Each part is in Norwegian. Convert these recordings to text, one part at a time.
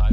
I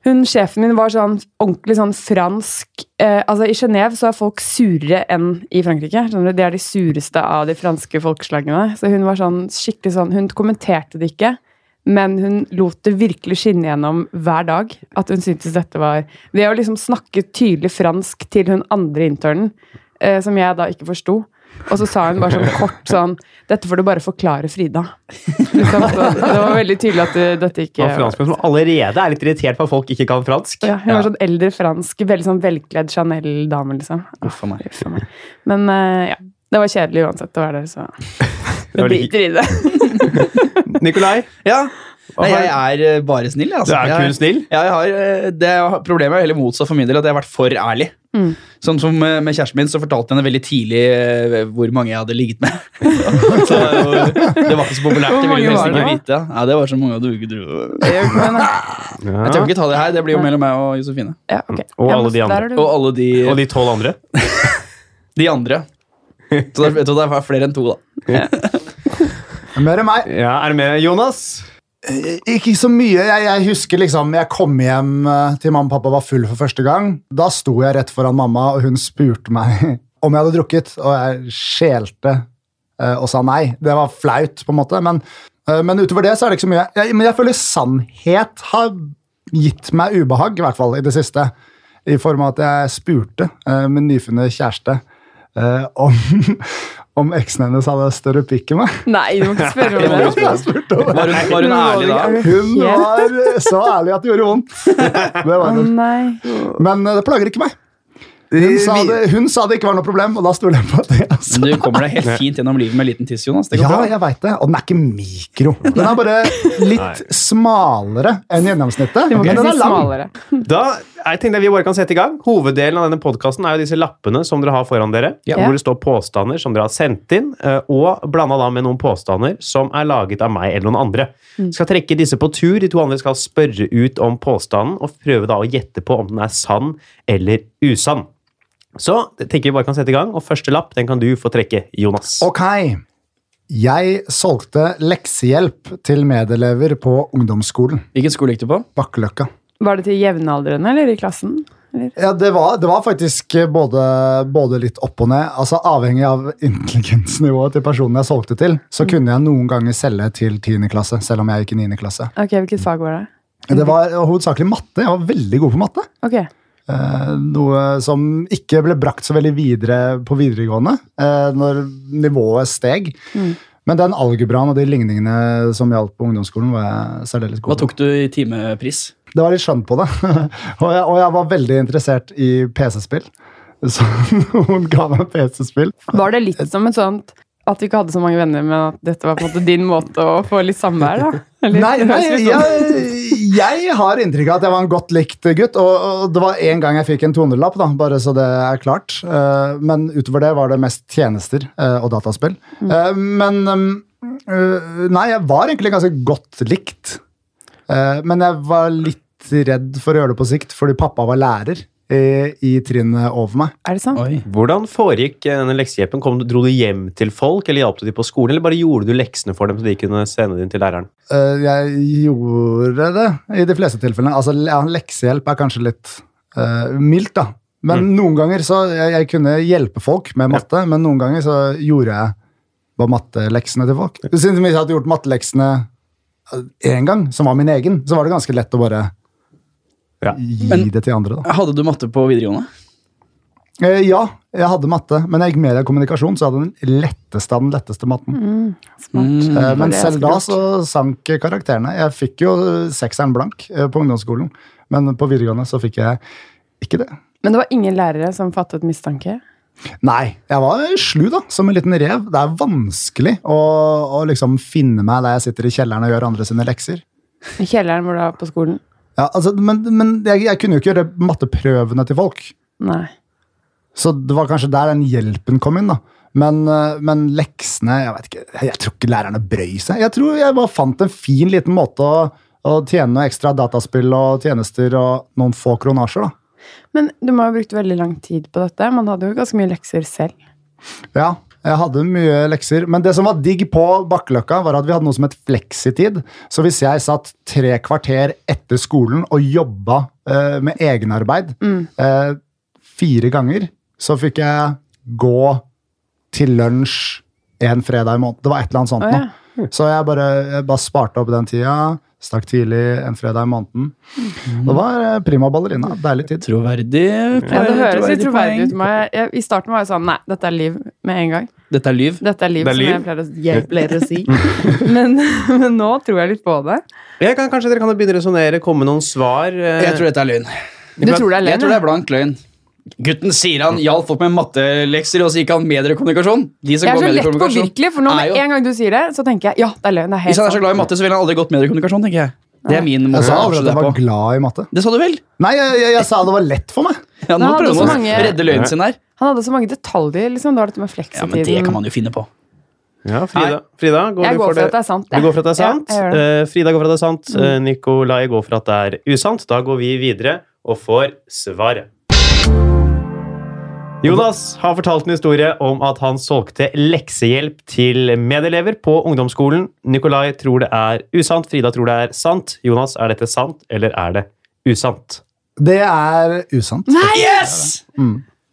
Hun, Sjefen min var sånn ordentlig sånn fransk eh, Altså I Genéve så er folk surere enn i Frankrike. skjønner du? De er de sureste av de franske folkeslagene. Så hun var sånn skikkelig sånn Hun kommenterte det ikke. Men hun lot det virkelig skinne gjennom hver dag at hun syntes dette var Ved å liksom snakke tydelig fransk til hun andre internen, eh, som jeg da ikke forsto. Og så sa hun bare sånn kort sånn Dette får du bare forklare Frida. Liksom, så det var veldig tydelig at du, dette ikke Og franskmenn som allerede er litt irritert på at folk ikke kan fransk. ja, hun var sånn eldre fransk, veldig sånn velkledd Chanel-dame, liksom. Uff a meg. Men eh, ja, det var kjedelig uansett å være der, så var jeg litt- driter i det. Nikolai, Ja. Nei, jeg er eh, bare snill, du jeg, altså. er Jeg- kun snill. Ja, jeg har, eh, det jeg har- Problemet er heller motsatt for min del, at jeg har vært for ærlig. Mm. Sånn som eh, Med kjæresten min så fortalte jeg henne veldig tidlig eh, hvor mange jeg hadde ligget med. så eh, Det var ikke så populært. Hvor Det ville mange hun var nesten ikke det vite. Ja, det var så mange du ikke dro. Men, Jeg tør ikke ta det her, det blir jo mellom meg og Josefine. ja, ok. Og Ja, alle men de der andre. er du- Og alle de, Og de tolv andre. de andre. Så det, jeg tror det er flere enn to, da. Mer enn meg. Ja, Er du med, Jonas? Eh, Ikke så mye. Jeg, jeg husker liksom Jeg kom hjem eh, til mamma og pappa var full for første gang. Da sto jeg rett foran mamma, og hun spurte meg om jeg hadde drukket, og jeg skjelte eh, og sa nei. Det var flaut, på en måte, men, eh, men utover det så er det ikke så mye. Jeg, men jeg føler sannhet har gitt meg ubehag, i hvert fall i det siste. I form av at jeg spurte eh, min nyfunne kjæreste eh, om, om eksen hennes hadde større pikk enn meg. Nei, du må ikke spørre om det. Jeg spurte om det. Var hun, var hun ærlig da? Hun var så ærlig at det gjorde vondt. Det var Å det. nei. Men eh, det plager ikke meg. Hun sa, det, hun sa det ikke var noe problem, og da stoler jeg på det. Altså. Men Du kommer deg helt fint gjennom livet med liten tiss, Jonas. Det går Ja, bra. jeg veit det. Og den er ikke mikro. Den er bare litt smalere enn gjennomsnittet. Du må Men ikke den er si lang. smalere. Da jeg tenkte jeg vi bare kan sette i gang. Hoveddelen av denne podkasten er jo disse lappene som dere har foran dere, Ja. hvor det står påstander som dere har sendt inn, eh, og blanda da med noen påstander som er laget av meg eller noen andre. Mm. Skal trekke disse på tur. De to andre skal spørre ut om påstanden og prøve da å gjette på om den er sann eller usann. Så jeg tenker vi bare kan sette i gang, og første lapp den kan du få trekke, Jonas. Ok. Jeg solgte leksehjelp til medelever på ungdomsskolen. Hvilken skole gikk du på? Bakkeløkka. Var det til jevnaldrende eller i klassen? Eller? Ja, det var, det var faktisk eh, både, både litt opp og ned. Altså Avhengig av intelligensnivået til personen jeg solgte til, så kunne jeg noen ganger selge til 10. klasse, selv om jeg gikk i 9. klasse. Ok, hvilket fag var det? Det var eh, hovedsakelig matte. Jeg var veldig god på matte. Ok. Eh, noe som ikke ble brakt så veldig videre på videregående, eh, når nivået steg. Men den algebraen og de ligningene som gjaldt på ungdomsskolen, var jeg særdeles Hva god på. tok du i timepris? Det var litt skjønn på det. og, jeg, og jeg var veldig interessert i PC-spill. Så noen ga meg PC-spill. Var det litt som et sånt at du ikke hadde så mange venner, men at dette var på en måte din måte å få litt samvær, da? Eller, Nei, nei høres det sånn? jeg, jeg har inntrykk av at jeg var en godt likt gutt. Og, og det var én gang jeg fikk en 200-lapp, da, bare så det er klart. Eh, Men utover det var det mest tjenester eh, og dataspill. Mm. Eh, Men eh, eh, Nei, jeg var egentlig ganske godt likt. Eh, Men jeg var litt redd for å gjøre det på sikt, fordi pappa var lærer i, i trinnet over meg. Er det sant? Oi. Hvordan foregikk eh, denne leksehjelpen? Kom, du- dro du hjem til folk, eller hjalp du dem på skolen, eller bare gjorde du leksene for dem så de kunne sende dem til læreren? Eh, Jeg gjorde det i de fleste tilfellene. Altså, ja, leksehjelp er kanskje litt eh, mildt, da. Men noen ganger så jeg, jeg kunne hjelpe folk med matte, men noen ganger så gjorde jeg bare matteleksene til folk. Siden jeg hadde gjort matteleksene én gang, som var min egen, så var det ganske lett å bare Ja. gi Men- det til andre, da. Hadde du matte på videregående? Eh, ja, jeg hadde matte, men jeg gikk media og kommunikasjon, så jeg hadde den letteste av den letteste matten. Smart. Mm. Eh, Men det er selv da ganske så sank karakterene. Jeg fikk jo sekseren blank eh, på ungdomsskolen, men på videregående så fikk jeg ikke det. Men det var ingen lærere som fattet mistanke? Nei, jeg var slu, da, som en liten rev. Det er vanskelig å, å liksom finne meg der jeg sitter i kjelleren og gjør andre sine lekser. I kjelleren hvor du var på skolen? Ja, altså, men men jeg, jeg kunne jo ikke gjøre matteprøvene til folk, Nei. så det var kanskje der den hjelpen kom inn. da. Men, eh, men leksene Jeg vet ikke, jeg tror ikke lærerne brøy seg. Jeg tror jeg bare fant en fin liten måte å, å tjene noe ekstra dataspill og tjenester og noen få kronasjer. da. Men du må ha brukt veldig lang tid på dette. Man hadde jo ganske mye lekser selv. Ja, jeg hadde mye lekser. Men det som var digg på Bakkeløkka, var at vi hadde noe som het fleksitid. Så hvis jeg satt tre kvarter etter skolen og jobba eh, med egenarbeid Mm. eh, fire ganger, så fikk jeg gå til lunsj en fredag i måneden. Det var et eller annet sånt Å, ja. nå. Så jeg bare, jeg bare sparte opp den tida. Stakk tidlig en fredag i måneden. Mm. Det var eh, prima ballerina. Deilig tid. Troverdig. Ja, det poeng, høres litt poeng. troverdig ut. Meg. Jeg, I starten var jeg sånn Nei, dette er liv med en gang. Dette er lyv. Dette er liv, Det er liv. som jeg pleier å, jeg pleier å si. men, men nå tror jeg litt på det. Jeg kan, kanskje dere kan begynne å resonnere, komme med noen svar? eh, Jeg tror dette er løgn. Du tror det er Jeg tror det løgn? er blank løgn. Gutten sier han hjalp folk med mattelekser, og så gikk han mediekommunikasjon. De som Jeg går er så lett mediekommunikasjon påvirkelig, for nå er med jo- en gang du sier det, så tenker jeg ja, det er løgn. Det er Hvis helt han er så sant. glad i matte, så ville han aldri gått mediekommunikasjon, tenker jeg. Det er min måte Jeg sa å aldri avslutte at jeg var det på. glad i matte. Det sa du vel? Nei, jeg, jeg, jeg sa det var lett for meg. Ja, nå hadde prøver så han å mange- redde løgnen sin her. Han hadde så mange detaljer. liksom. Det var dette med Ja, men det kan fleksitiden. man jo finne på. Ja, Frida, Frida går Jeg du går for at det er sant, Du jeg. går for at det er Ja, sant. jeg gjør det. Mm. Eh, Frida går for at det er sant. Eh, Nikolai går for at det er usant. Da går vi videre og får svaret. Jonas har fortalt en historie om at han solgte leksehjelp til medelever på ungdomsskolen. Nikolai tror det er usant, Frida tror det er sant. Jonas, er dette sant, eller er det usant? Det er usant. Yes!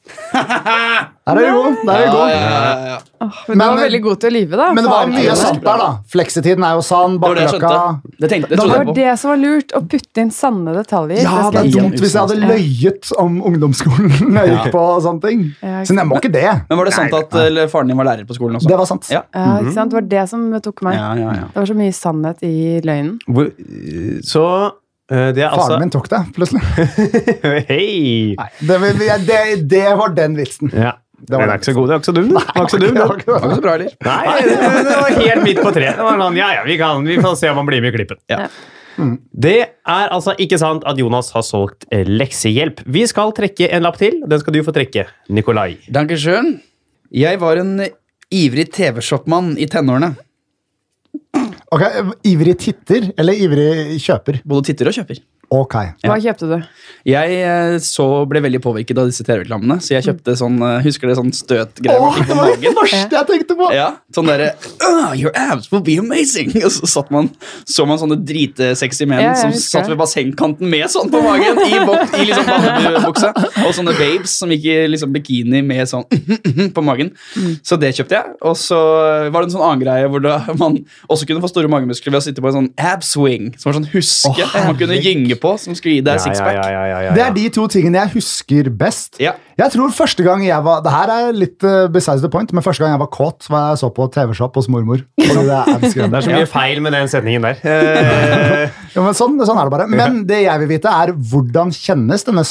Der er du god. Der er du god. Åh, Men du var Men- veldig god til å lyve, da. Men det var Bare- mye sant der, da. Fleksetiden er jo sann. Det var det jeg Bakkeløkka skjønte. Det tenkte, det Det trodde var jeg på. det som var lurt, å putte inn sanne detaljer. Ja, det Det skal er jeg igjen dumt hvis jeg hadde usant. løyet om ungdomsskolen. når jeg gikk på og sånne ting. Ja, ikke Så jeg må ikke det. Men var det sant at eller, faren din var lærer på skolen også? Det var sant. Ja. Ja, ikke sant? Det var det som tok meg. Ja, ja, ja. Det var så mye sannhet i løgnen. Hvor- eh, Så eh, det er altså Faren min tok det, plutselig. Hei! Nei, det, vil- jeg- det, det var den vitsen. Ja. Den var er ikke så god. Det er ikke så dum, den. Den var ikke så dum, den. Det var ikke så bra heller. Nei, det, det var helt midt på treet. Det var sånn, ja, ja, vi, kan, vi får se om han blir med i klippen. Mm. Ja. Det er altså ikke sant at Jonas har solgt eh, leksehjelp. Vi skal trekke en lapp til. Den skal du få trekke, Nikolai. Danke schön. Jeg var en eh, ivrig TV-shopmann i tenårene. Ok, Ivrig titter eller ivrig kjøper? Både titter og kjøper. Ok. Hva kjøpte du? Jeg eh, så ble veldig påvirket av disse TV-reklamene, så jeg kjøpte sånn eh, Husker dere sånn støtgreier man Åh, fikk det på var det magen? første jeg tenkte på! Ja, sånn derre «Åh, Your abs will be amazing! Og så satt man, så man sånne dritsexy menn Ja, jeg som husker satt det. ved bassengkanten med sånn på magen, i, bok, i liksom badebuksa. Og sånne babes som gikk i liksom bikini med sånn på magen. Så det kjøpte jeg. Og så var det en sånn annen greie hvor da man også kunne få store magemuskler ved å sitte på en sånn abswing, som var sånn huske. Åh, man kunne herregud. gynge på, som skulle gi deg sixpack. Ja, ja, ja, ja, ja, ja. Det er de to tingene jeg husker best. Ja. Jeg tror første gang jeg var Det her er litt eh, besides the point, men første gang jeg var kåt, var jeg så på TV-shop hos mormor. Fordi det er Det abskremmende. er så mye feil med den setningen der. Eh, Ja, men sånn, sånn er det bare. Men det jeg vil vite, er hvordan kjennes denne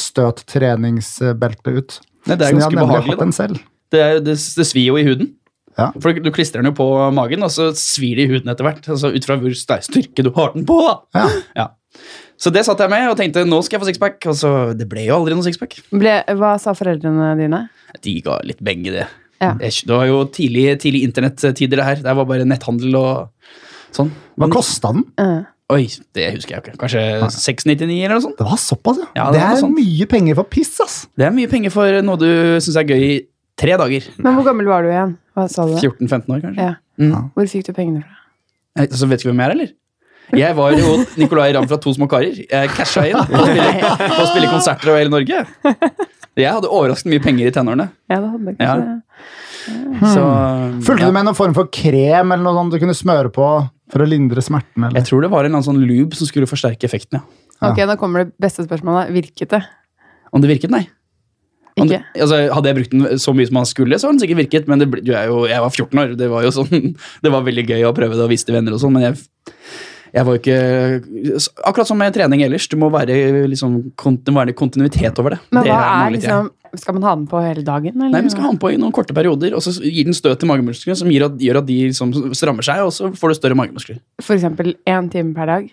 støttreningsbeltet ut? Nei, det er Som jeg ganske nemlig har behagelig, hatt en selv. Det, er- det, det svir jo i huden. Ja. For du klistrer den jo på magen, og så svir det i huden etter hvert. Altså Ut fra hvor sterk styrke du har den på. da. Ja. Ja. Så det satt jeg med og tenkte nå skal jeg få sixpack. Og så det ble jo aldri noe sixpack. Ble, hva sa foreldrene dine? De ga litt begge, det. Ja. Jeg, kj- det var jo tidlig, tidlig internettider, det her. Det var bare netthandel og sånn. Hva kosta den? Eh, Oi, det husker jeg ikke. Kanskje 699 eller noe sånt? Det var såpass, ja. Ja, det, det var er sånn. mye penger for piss, ass. Det er mye penger for noe du syns er gøy i tre dager. Men hvor gammel var du igjen? Hva sa du? 14-15 år, kanskje. Ja. Mm. Hvor fikk du pengene fra? Eh, Så vet ikke hvem jeg er, eller? Jeg var jo Nicolay Ramm fra To små karer. Jeg casha inn på å spille, på å spille konserter over hele Norge. Jeg hadde overraskende mye penger i tenårene. Ja, det hadde jeg Ja. kanskje. Hmm. Så Fulgte Mm, ja. du med noen form for krem eller noe sånt du kunne smøre på for å lindre smerten? Jeg Eller? tror det var en eller annen sånn lube som skulle forsterke effekten, ja. Ok, Nå kommer det beste spørsmålet. Virket det? Om det virket, nei. Om Ikke? det, altså, hadde jeg brukt den så mye som man skulle, så hadde den sikkert virket. Men det, ble- du er jo, jeg var 14 år. Det var jo sånn, det var veldig gøy å prøve det og vise til venner og sånn, men jeg, jeg var jo ikke Akkurat som med trening ellers. Du må være, liksom, kont- det må være kontinuitet over det. Men Det hva manglet er jeg. liksom Skal man ha den på hele dagen? Eller? Nei, men skal ha den på i noen korte perioder, og så gir den støt til magemusklene, som gir at, gjør at de liksom strammer seg, og så får du større magemuskler. For eksempel én time per dag?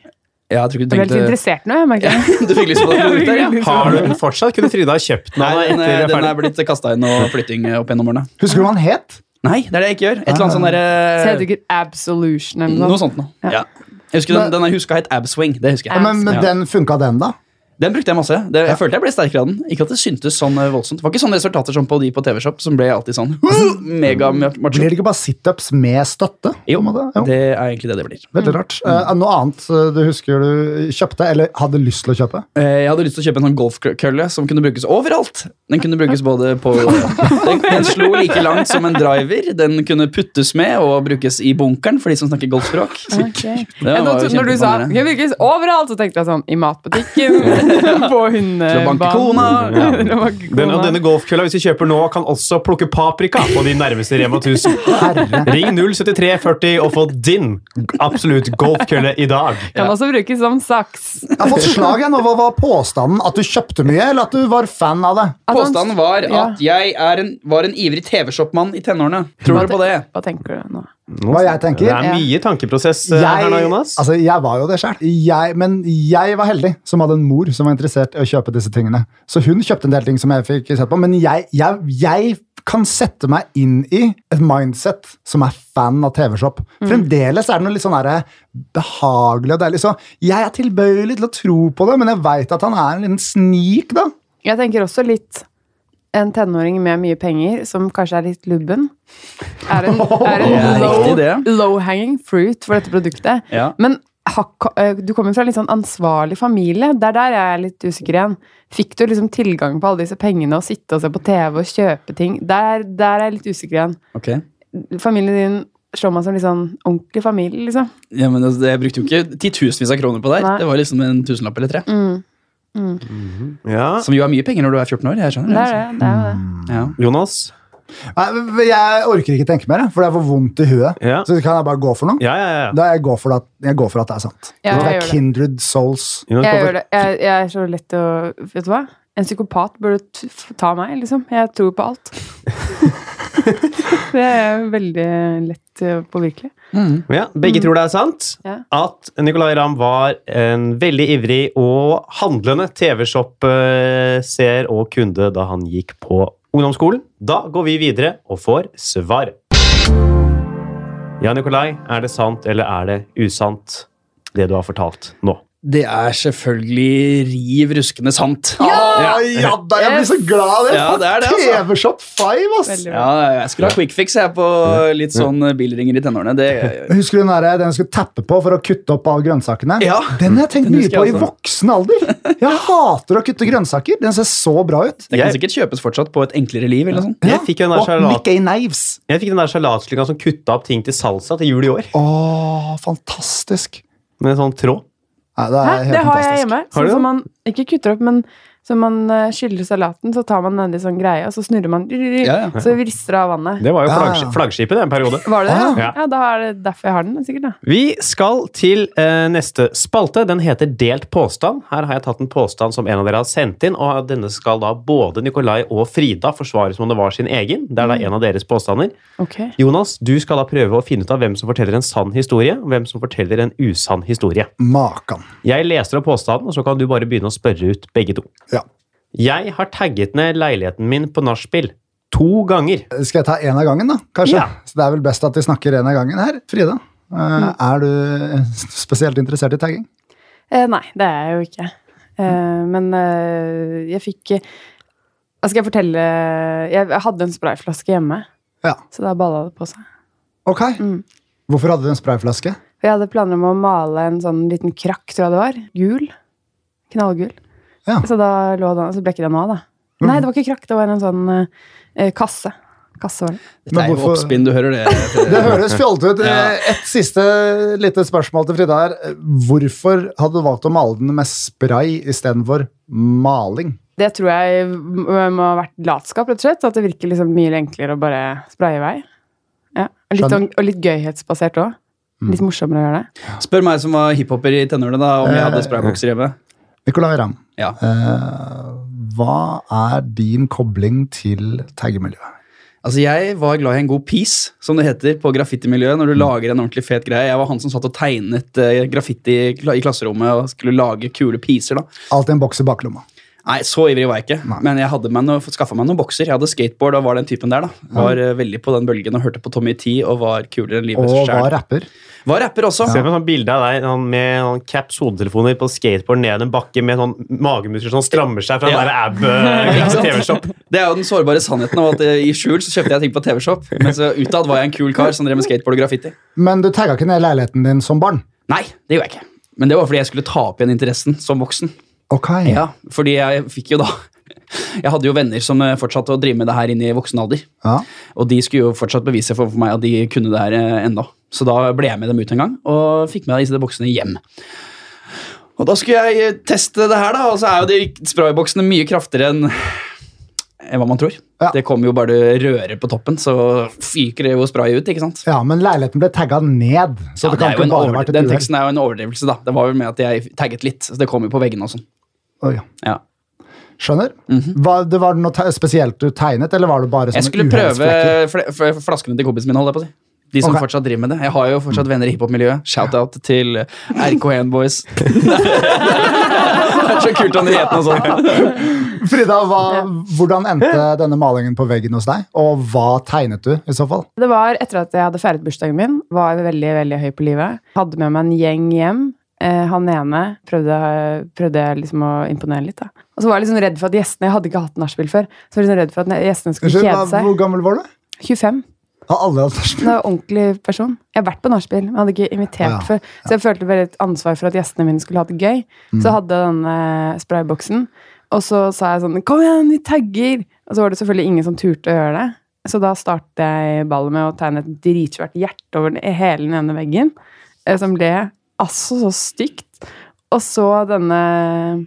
Ja, jeg tror ikke Du du er litt tenkte interessert nå, jeg merker det. Du fikk lyst på det produktet? her, Ja. Har du den fortsatt? Kunne Frida ha kjøpt den? Nei, av deg den, etter vi er er- den er ferdig? blitt kasta inn og flytting eh, opp gjennom årene. Husker du hva han het? Nei, det er det jeg ikke gjør. Et eller annet sånn Så heter derre det ikke Absolution eller Noe noe sånt. sånt noe. Ja. Ja. Jeg husker den, Men- den jeg huska het Abswing. Det husker jeg. Men, men Ja. den funka den, da? Den brukte jeg masse. Det, jeg følte jeg ble sterkere av den. Ikke at det syntes sånn eh, voldsomt. Det var ikke sånne resultater som på de på TV-Shop, som ble alltid sånn mega macho. Blir det ikke bare situps med støtte? på en Jo, måte? jo. det Mm. er egentlig det det blir. Veldig rart. Eh, noe annet eh, du husker du kjøpte, eller hadde lyst til å kjøpe? Eh, Jeg hadde lyst til å kjøpe en sånn golfkølle som kunne brukes overalt. Den kunne brukes både på den, den slo like langt som en driver. Den kunne puttes med og brukes i bunkeren for de som snakker golfspråk. Ok. Det var Ja, da, jo sånn, når du sa kjempeimponerende. «Jeg virkes overalt, så tenkte jeg sånn I matbutikken, på Til å hundebanen banke kona. Ja, til å banke Den, og kona. denne golfkølla hvis vi kjøper nå, kan også plukke paprika på de nærmeste Rema 1000. Ring 07340 og få din absolutt golfkølle i dag. Kan også brukes som saks. Jeg har fått slag igjen, og Hva var påstanden? At du kjøpte mye, eller at du var fan av det? At han- Påstanden var Ja. at jeg er en, var en ivrig TV-shop-mann i tenårene. Tror dere på det? Hva tenker du nå? Hva jeg Det tenker? er mye tankeprosess eh, Jeg, her nå, Jonas. altså, jeg var jo det sjøl, men jeg var heldig som hadde en mor som var interessert i å kjøpe disse tingene. Så hun kjøpte en del ting som jeg fikk sett på, men jeg, jeg, jeg kan sette meg inn i et mindset som er fan av TV-Shop. Mm. Fremdeles er det noe litt sånn derre behagelig og deilig. Så jeg er tilbøyelig til å tro på det, men jeg veit at han er en liten snik, da. Jeg tenker også litt en tenåring med mye penger, som kanskje er litt lubben, er en, er en Det er low, riktig, det. low-hanging fruit for dette produktet. Ja. Men hakk- eh, du kommer fra en litt sånn ansvarlig familie. Det er der jeg er litt usikker igjen. Fikk du liksom tilgang på alle disse pengene og sitte og se på TV og kjøpe ting? Der, der er jeg litt usikker igjen. Ok. Familien din slår meg som litt sånn ordentlig familie, liksom. Ja, men altså, Jeg brukte jo ikke titusenvis av kroner på det. Nei. Mm. her. Det var liksom en tusenlapp eller tre. Ja. Som jo er mye penger når du er 14 år. jeg skjønner Det det, er det. det, er jo det. altså. Ja. Jonas? Nei, Jeg orker ikke tenke mer, jeg, for det er for vondt i huet. Ja. Så kan jeg bare gå for noe? Ja, ja, ja. Da jeg går for det, at- jeg går for at det er sant. Ja, det jeg er gjør det. kindred souls. Jonas, Jeg hvorfor- gjør det. Jeg, jeg er så lett å Vet du hva? En psykopat burde t- f- ta meg, liksom. Jeg tror på alt. det er veldig lett eh, påvirkelig. Ja, begge tror det er sant Ja. at Nicolay Ramm var en veldig ivrig og handlende TV-shop-seer og kunde da han gikk på ungdomsskolen. Da går vi videre og får svar. Ja, Nicolay, er det sant eller er det usant, det du har fortalt nå? Det er selvfølgelig riv ruskende sant. Ja, ja da, jeg blir så glad av det! Ja, det er det, altså. TV-Shop 5, ass! Veldig bra. Ja, jeg skulle ha quick fix jeg på litt sånn bilringer i tenårene. Det, Husker du den, der, den jeg skulle tappe på for å kutte opp alle grønnsakene? Ja, Den har jeg tenkt den mye husker på jeg i også. voksen alder. Jeg hater å kutte grønnsaker. Den ser så bra ut. det kan Jeg- sikkert kjøpes fortsatt på et enklere liv. eller noe sånt. Jeg fikk jo den der Og salat- Mickey Knives. jeg fikk den der salatslinga som kutta opp ting til salsa til jul i år. Åh, fantastisk. Med en sånn tråd. Nei, det er Hæ? helt Det har jeg fantastisk. hjemme. Har du Sånn det? som man ikke kutter opp, men som man eh, skyller salaten, så tar man den i sånn greie, og så snurrer man, Ja, så rister det av vannet. Det var jo Ja. flaggskip, flaggskipet det en periode. Var det det? Ja. Ja, da er det derfor jeg har den, sikkert. da. Vi skal til eh, neste spalte. Den heter Delt påstand. Her har jeg tatt en påstand som en av dere har sendt inn, og denne skal da både Nikolai og Frida forsvare som om det var sin egen. Det er da en av deres påstander. Ok. Jonas, du skal da prøve å finne ut av hvem som forteller en sann historie, og hvem som forteller en usann historie. Makan. Jeg leser opp påstanden, og så kan du bare begynne å spørre ut begge to. Ja. Jeg har tagget ned leiligheten min på nachspiel to ganger. Skal jeg ta én av gangen, da? Kanskje? Ja. Så Det er vel best at vi snakker én av gangen her. Frida, eh, Mm. er du spesielt interessert i tagging? Eh, nei, det er jeg jo ikke. Eh, men eh, jeg fikk eh, Skal jeg fortelle Jeg hadde en sprayflaske hjemme, Ja. så da balla det på seg. Ok. Mm. Hvorfor hadde du en sprayflaske? Og jeg hadde planer om å male en sånn liten krakk, tror jeg det var. Gul. Knallgul. Ja. Mm. Så da lå den, så ble ikke den noe av, da. Nei, det var ikke krakk, det var en sånn eh, kasse. Kasse var det. Dette er Men jo hvorfor- oppspinn, du hører det. Fredrik. Det høres fjollete ut. Ja. Eh, Et siste lite spørsmål til Frida her. Hvorfor hadde du valgt å male den med spray istedenfor maling? Det tror jeg m- må ha vært latskap, rett og slett. At det virker liksom mye enklere å bare spraye i vei. Ja. Og, litt, Skjønner. Mm. sånn- og litt gøyhetsbasert òg. Litt morsommere å gjøre det. Spør meg som var hiphoper i tenårene, da, om jeg hadde spraybokser hjemme. Nicolay Ramm, Ja. eh, hva er din kobling til taggemiljøet? Altså, Jeg var glad i en god piece, som det heter på graffitimiljøet. når du lager en ordentlig fet greie. Jeg var han som satt og tegnet eh, graffiti i kla- i klasserommet og skulle lage kule piser. da. Alltid en boks i baklomma. Nei, så ivrig var jeg ikke, men jeg hadde meg noe, skaffa meg noen bokser. Jeg hadde skateboard og var den typen der. da. Var eh, veldig på den bølgen og hørte på Tommy T og var kulere enn livet Og selv. var rapper. Var rapper også. Se på sånn bilde av deg han med han caps hodetelefoner på skateboard ned en bakke med sånn magemuskler som strammer seg fra den Ja. der eh, Ikke sant? ab-TV-shop. Det er jo den sårbare sannheten av at eh, i skjul så kjøpte jeg ting på TV-shop, men så utad var jeg en kul kar som drev med skateboard og graffiti. Men du tagga ikke ned leiligheten din som barn? Nei, det gjorde jeg ikke. Men det var fordi jeg skulle ta opp igjen interessen som voksen. Ok. Ja, fordi jeg fikk jo da Jeg hadde jo venner som eh, fortsatte å drive med det her inn i voksen alder. Ja. Og de skulle jo fortsatt bevise for, for meg at de kunne det her eh, enda. Så da ble jeg med dem ut en gang, og fikk med disse boksene hjem. Og da skulle jeg eh, teste det her, da, og så er jo de sprayboksene mye kraftigere enn enn hva man tror. Ja. Det kommer jo bare du rører på toppen, så fyker det jo sprayet ut. ikke sant? Ja, men leiligheten ble tagga ned. Så Ja, det det kan er jo ikke en bare over- vært et den uhell. teksten er jo en overdrivelse, da. Det var vel med at jeg tagget litt. så Det kom jo på veggene og sånn. Oi, ja. Ja. Skjønner. Hva- det var det noe te- spesielt du tegnet, eller var det bare Mhm. Jeg sånne skulle prøve uhellsflekker? fl- fl- flaskene til kompisen min, holdt jeg på å si. De som Ok. fortsatt driver med det. Jeg har jo fortsatt venner i hiphop-miljøet. Shout-out til RK1 Boys. det er så kult under heten og sånn. Frida, hva, hvordan endte denne malingen på veggen hos deg, og hva tegnet du i så fall? Det var etter at jeg hadde feiret bursdagen min, var veldig, veldig høy på livet. Hadde med meg en gjeng hjem. Eh, han ene prøvde, prøvde jeg liksom å imponere litt. da. Og så var jeg liksom redd for at gjestene Jeg hadde ikke hatt nachspiel før. Så var jeg liksom redd for at gjestene skulle Unnskyld, kjede hva- seg. hvor gammel var du? 25. Har alle hatt nachspiel? Det var en ordentlig person. Jeg har vært på nachspiel, men hadde ikke invitert Ja, Mm. før. Så jeg følte veldig et ansvar for at gjestene mine skulle ha det gøy. Så jeg hadde denne sprayboksen, og så sa jeg sånn Kom igjen, vi tagger! Og så var det selvfølgelig ingen som turte å gjøre det. Så da startet jeg ballet med å tegne et dritsvært hjerte over den- hele den ene veggen, eh, som ble altså så stygt. Og så denne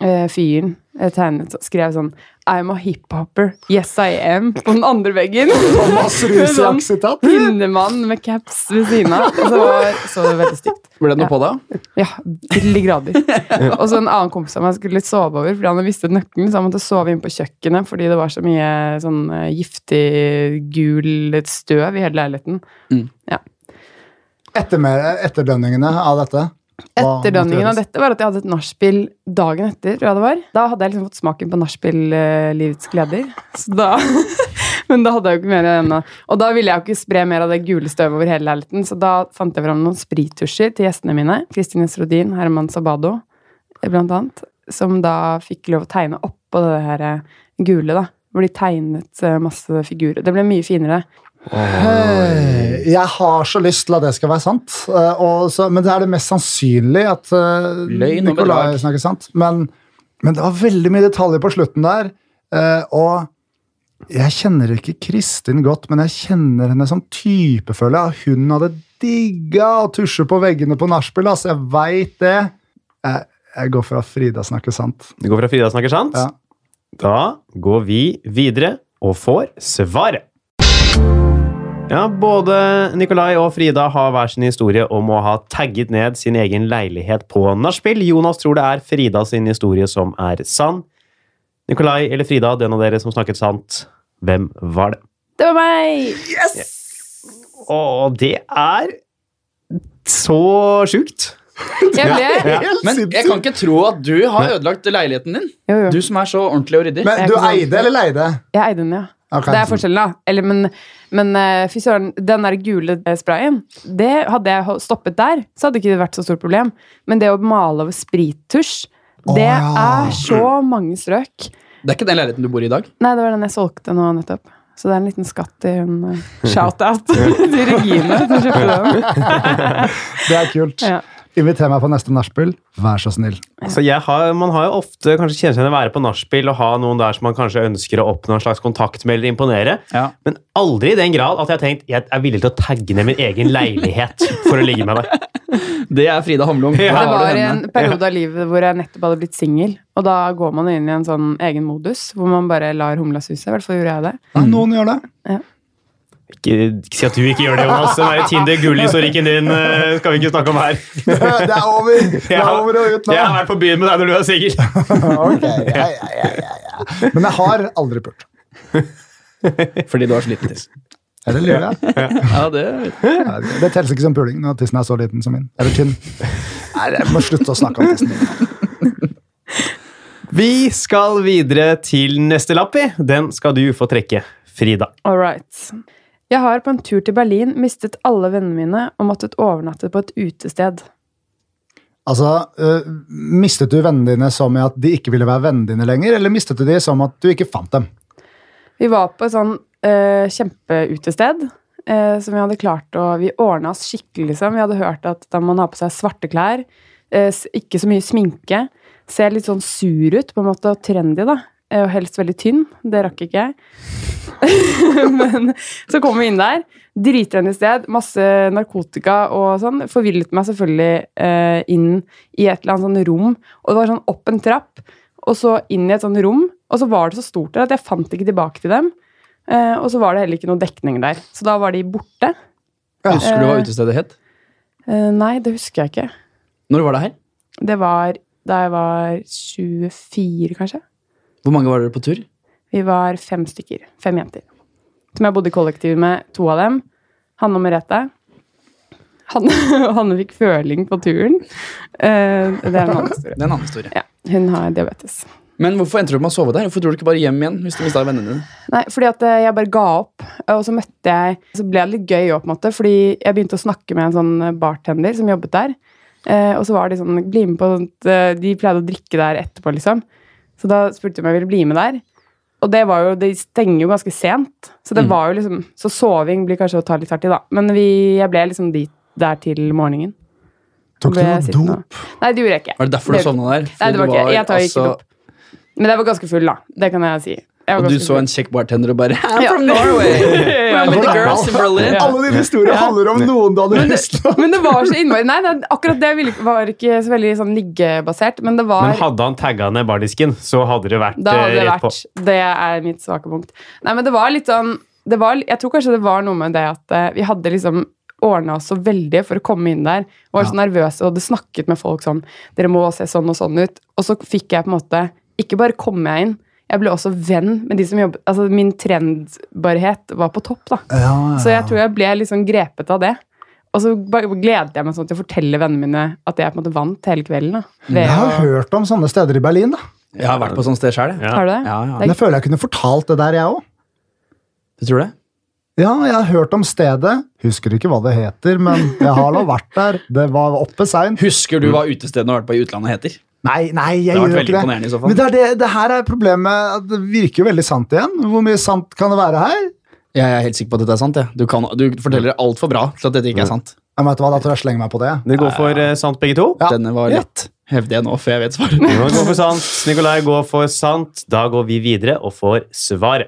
eh, fyren eh, tegnet, skrev sånn I'm a hiphoper. Yes, I am. På den andre veggen. Thomas Ruse Sånn. Aksitat? Pinnemann med caps ved siden av. Og så var så det veldig stygt. Ble det noe på deg? Ja, til de grader. Og så en annen kompis av meg skulle sove over fordi han hadde mistet nøkkelen, så han måtte sove inne på kjøkkenet fordi det var så mye sånn eh, giftig gul støv i hele leiligheten. Etter mer- etterdønningene av dette? hva måtte Etterdønningen gjøres? av dette var at jeg hadde et nachspiel dagen etter, tror jeg det var. Da hadde jeg liksom fått smaken på nachspiel-livets gleder. Så da Men da hadde jeg jo ikke mer enn å- Og da ville jeg jo ikke spre mer av det gule støvet over hele leiligheten, så da fant jeg fram noen sprittusjer til gjestene mine. Kristin Esrodin, Herman Sabado, eh, blant annet. Som da fikk lov å tegne oppå det her eh, gule, da. Hvor de tegnet eh, masse figurer. Det ble mye finere. Hei, Eh, Jeg har så lyst til at det skal være sant, eh, og så, men det er det mest sannsynlig at eh, Løgn og Nicolai bedrag. snakker sant. Men, men det var veldig mye detaljer på slutten der, eh, og jeg kjenner ikke Kristin godt, men jeg kjenner henne som type, føler jeg. Hun hadde digga å tusje på veggene på nachspiel, altså. Jeg veit det. Jeg, jeg går for at Frida snakker sant. Det går fra Frida snakker sant. Ja. Da går vi videre og får svaret. Ja, både Nikolai og Frida har hver sin historie om å ha tagget ned sin egen leilighet på nachspiel. Jonas tror det er Frida sin historie som er sann. Nikolai eller Frida, den av dere som snakket sant, hvem var det? Det var meg! Og det er så sjukt. Jeg ble Ja. Helt Men jeg sinnssykt. kan ikke tro at du har ødelagt leiligheten din. Jo, jo. Du som er så ordentlig og ryddig. Men Jeg du kan si- eide eller leide? Jeg eide den, ja. Ok. Det er forskjellen, da. Eller, men men eh, fy søren, den der gule eh, sprayen, det hadde jeg ho- stoppet der, så hadde ikke det vært så stort problem. Men det å male over sprittusj, Å, det ja. er så mange strøk. Det er ikke den leiligheten du bor i i dag. Nei, det var den jeg solgte nå nettopp. Så det er en liten skatt til hun eh, Shout-out til Regine som kjøpte den. Det er kult. Ja. Inviter meg på neste nachspiel. Vær så snill. Altså, jeg har, man har jo ofte kanskje kjenner seg igjen i å være på nachspiel og ha noen der som man kanskje ønsker å oppnå en slags kontakt med eller imponere, Ja. men aldri i den grad at jeg har tenkt jeg er villig til å tagge ned min egen leilighet for å ligge med deg. Det er Frida Hamlung. Ja. Der Det har du var en henne. periode av livet hvor jeg nettopp hadde blitt singel, og da går man inn i en sånn egen modus hvor man bare lar humla suse. I hvert fall gjorde jeg det. Ja, noen gjør det. Ikke, ikke si at du ikke gjør det, Jonas. Den der Tinder-gullistorikken din eh, skal vi ikke snakke om her. Det er over. Det er over og ut nå. Jeg har vært på byen med deg når du er singel. Ok, ja, ja, ja, ja, ja. Men jeg har aldri pult. Fordi du har så liten tiss. Eller gjør jeg? Ja, det Ja, det- Det telles ikke som puling når tissen er så liten som min. Eller tynn. Nei, jeg må slutte å snakke om tissen min. Vi skal videre til neste lapp, vi. Den skal du få trekke, Frida. All right. Jeg har på en tur til Berlin mistet alle vennene mine og måttet overnatte på et utested. Altså, øh, Mistet du vennene dine som i at de ikke ville være vennene dine lenger, eller mistet du de som at du ikke fant dem? Vi var på et sånn eh, kjempeutested eh, som vi hadde klart å Vi ordna oss skikkelig, liksom. Vi hadde hørt at da må man ha på seg svarte klær, eh, s- ikke så mye sminke, ser litt sånn sur ut, på en måte, og trendy, da. eh, Og helst veldig tynn. Det rakk ikke jeg. Men så kom vi inn der. Dritrennig sted, masse narkotika og sånn. Forvillet meg selvfølgelig eh, inn i et eller annet sånn rom. Og det var sånn opp en trapp, og så inn i et sånt rom. Og så var det så stort der at jeg fant ikke tilbake til dem. Eh, og så var det heller ikke noe dekning der. Så da var de borte. Husker du hva utestedet het? Eh, nei, det husker jeg ikke. Når var det her? Det var da jeg var 24, kanskje. Hvor mange var dere på tur? Vi var fem stykker. Fem jenter. Som jeg bodde i kollektiv med to av dem. Hanne og Merete. Hanne, Hanne fikk føling på turen. Eh, det er en annen historie. Det er en annen historie. Ja, hun har diabetes. Men hvorfor endte du opp med å sove der? Hvorfor dro du ikke bare hjem igjen? hvis du mistet vennene dine? Nei, fordi at eh, jeg bare ga opp, og så møtte jeg Så ble det litt gøy òg, på en måte, fordi jeg begynte å snakke med en sånn bartender som jobbet der. Eh, og så var de sånn Bli med på sånt eh, De pleide å drikke der etterpå, liksom. Så da spurte de om jeg ville bli med der. Og det var jo De stenger jo ganske sent, så Mm. det var jo liksom Så soving blir kanskje å ta litt hardt i, da. Men vi, jeg ble liksom dit der til morgenen. Tok du Ble noe sittende. dop? Nei, det gjorde jeg ikke. Var det derfor du Det- sovna der? Nei, det var Fordi ikke du jeg. Jeg tar jo ikke altså- dop. Men jeg var ganske full, da. Det kan jeg si. Jeg var Og du ganske så full. en kjekk bartender og bare I'm Ja. from Norway! Ja, I'm men- with the girls in Berlin. Alle dine historier handler om noen du hadde lyst til å Men det var så innmari Nei, det, akkurat det ville- var ikke så veldig sånn liggebasert, men det var Men hadde han tagga ned bardisken, så hadde det vært Da hadde eh, det rett på. vært Det er mitt svake punkt. Nei, men det var litt sånn det var, Jeg tror kanskje det var noe med det at eh, vi hadde liksom ordna oss så veldig for å komme inn der. Var så nervøse og hadde snakket med folk sånn Dere må se sånn og sånn ut. Og så fikk jeg på en måte Ikke bare kom jeg inn, jeg ble også venn med de som jobbet Altså min trendbarhet var på topp, da. Eh, Så jeg tror jeg ble litt sånn grepet av det. Og så bare gledet jeg meg sånn til å fortelle vennene mine at jeg på en måte vant hele kvelden. da. Ved Jeg har å- hørt om sånne steder i Berlin, da. Jeg har vært på sånt sted sjøl, jeg. Ja. Har du det? Ja, ja. Men jeg føler jeg kunne fortalt det der, jeg òg. Du tror det? Ja, jeg har hørt om stedet. Husker ikke hva det heter, men jeg har nå vært der. Det var oppe seint. Husker du hva utestedene har vært på i utlandet heter? Nei, nei, Det jeg har vært gjør veldig ikke det. imponerende i så fall. Men det, er det, det her er problemet. at Det virker jo veldig sant igjen. Hvor mye sant kan det være her? Jeg er helt sikker på at dette er sant. jeg. Du, kan, du forteller altfor bra til at dette ikke er sant. Jeg vet du hva, Da tror jeg jeg slenger meg på det. Dere går for eh, sant, begge to? Ja. Denne var Ja. lett, hevder jeg nå, for jeg vet svaret. Jonas går for sant. Nikolai går for sant. Da går vi videre og får svaret.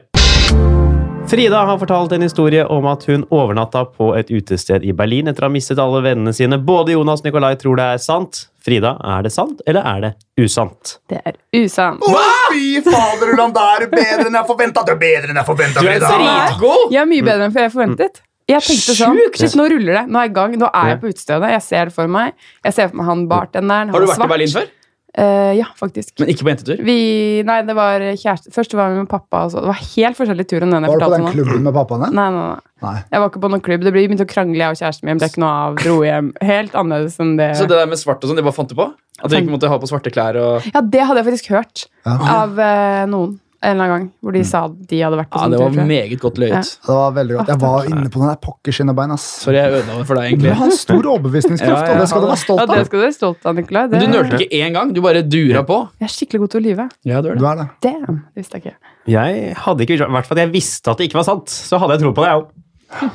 Frida har fortalt en historie om at hun overnatta på et utested i Berlin etter å ha mistet alle vennene sine. Både Jonas og Nikolai tror det er sant. Frida, er det sant, eller er det usant? Det er usant. Å, Fy fader, Ulland, det er bedre enn jeg forventa! Du er bedre enn jeg forventa, Frida! dritgod! Jeg er mye bedre enn jeg forventet. Jeg tenkte sånn, Sjukt! shit, Nå ruller det. Nå er jeg i gang. Nå er jeg på utestedet. Jeg ser det for meg. Jeg ser for meg han bartenderen. Har han du vært svart. i Berlin før? Eh, ja, faktisk. Men ikke på jentetur? Vi, nei, det var kjæreste Først var vi med pappa. Og så. Det var helt forskjellig tur enn den jeg Var du på fortalte den nå. klubben med pappaen din? Nei, nei, nei. Nei. Jeg var ikke på noen klubb. Det ble begynte å krangle, jeg og kjæresten min. Ble ikke noe av. Dro hjem. Helt annerledes enn det. Så det der med svart og sånn, de bare fant det på? At de ikke måtte ha på svarte klær og Ja, det hadde jeg faktisk hørt Ja. av eh, noen en eller annen gang. Hvor Mm. de sa at de hadde vært på Ja, sånn det tur. var tror jeg. meget godt løyet. Det var veldig godt. Jeg var inne på den der pokker skinnebein, ass. Sorry, jeg ødela det for deg, Du egentlig. har en stor overbevisningskraft, Ja, ja, og det skal du være Ja, stolt det av. skal du være stolt av, Nicolai. Det, Men du nølte ikke én gang, du bare dura på. Jeg er skikkelig god til å lyve. Ja, du er Du er det. Damn, det visste jeg ikke. Jeg hadde ikke, I hvert fall at jeg visste at det ikke var sant, så hadde jeg tro på det, jeg òg.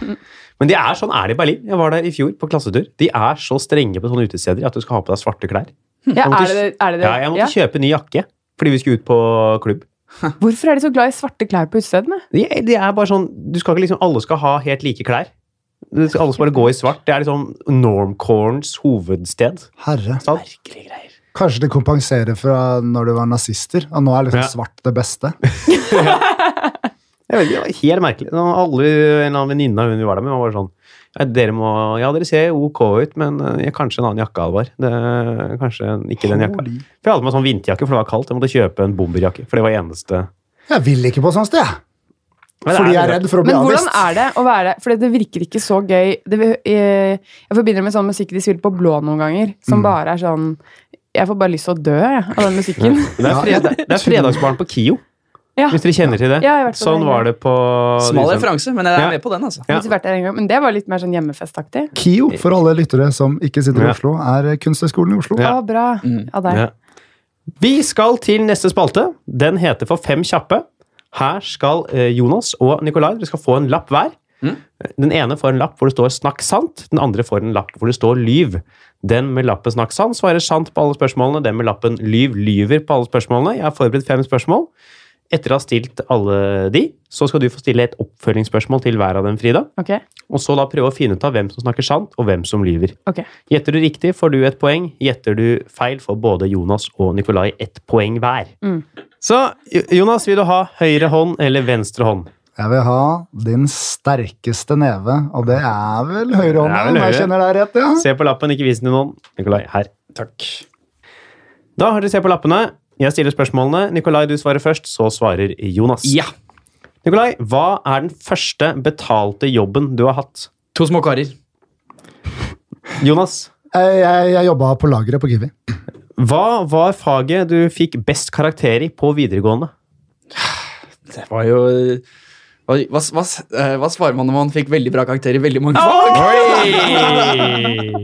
Men de er sånn er det i Berlin. Jeg var der i fjor på klassetur. De er så strenge på sånne utesteder at du skal ha på deg svarte klær. Ja, Jeg måtte er det er det? det? Ja, jeg måtte kjøpe ny jakke fordi vi skulle ut på klubb. Hvorfor er de så glad i svarte klær på utestedene? De, de er bare sånn, du skal ikke liksom, Alle skal ha helt like klær. Du skal- Alle skal bare gå i svart. Det er liksom normcorns hovedsted. Herre. Sant? Kanskje det kompenserer fra når du var nazister, og nå er liksom Ja. svart det beste. Jeg vet ikke, det var helt merkelig. Nå, alle, en eller annen venninne av hun vi var der med, var bare sånn ja, dere må, ja, dere ser ok ut, men eh, kanskje en annen jakke, Alvar. Det, kanskje ikke den jakka. Holy. For jeg hadde med sånn vinterjakke, for det var kaldt. Jeg måtte kjøpe en bomberjakke, for det var eneste Jeg vil ikke på sånt sted, jeg. Men det Fordi jeg det er bra. redd for å bli Men hvordan avvist. er det å være For det virker ikke så gøy. Det, eh, jeg forbinder det med sånn musikk de spiller på blå noen ganger, Mm. som bare er sånn Jeg får bare lyst til å dø jeg, av den musikken. Det er, fred, det er fredagsbarn på Kio, Ja. hvis dere kjenner til det. Ja, jeg har vært på sånn det. var det på Smal liksom- referanse, men jeg Ja. er med på den, altså. Ja. Hvis vi vært der en gang, Men det var litt mer sånn hjemmefestaktig. KIO, for alle lyttere som ikke sitter i Ja. Oslo, er Kunsthøgskolen i Oslo. Ja. Å, bra. Av deg. Ja. Vi skal til neste spalte. Den heter For fem kjappe. Her skal eh, Jonas og Nikolai dere skal få en lapp hver. Den ene får en lapp hvor det står 'snakk sant'. Den andre får en lapp hvor det står 'lyv'. Den med lappen 'snakk sant' svarer sant på alle spørsmålene. Den med lappen 'lyv' lyver på alle spørsmålene. Jeg har forberedt fem spørsmål. Etter å ha stilt alle de, så skal du få stille et oppfølgingsspørsmål til hver av dem, Frida. Ok. Og så da prøve å finne ut av hvem som snakker sant, og hvem som lyver. ok. Gjetter du riktig, får du et poeng. Gjetter du feil, får både Jonas og Nikolai ett poeng hver. Så Jo- Jonas, vil du ha høyre hånd eller venstre hånd? Jeg vil ha din sterkeste neve, og det er vel Det høyrehånda, er vel om jeg høyre. kjenner deg rett, ja. Se på lappen, ikke vis den til noen. Nikolai, her. Takk. Da har dere se på lappene. Jeg stiller spørsmålene. Nikolai, du svarer først, så svarer Jonas. Ja. Nikolai, hva er den første betalte jobben du har hatt? To små karer. Jonas, Jeg, jeg, jeg jobba på lageret på Kiwi. hva var faget du fikk best karakter i på videregående? Det var jo hva, hva, hva, eh, hva svarer man når man fikk veldig bra karakter i veldig mange fag?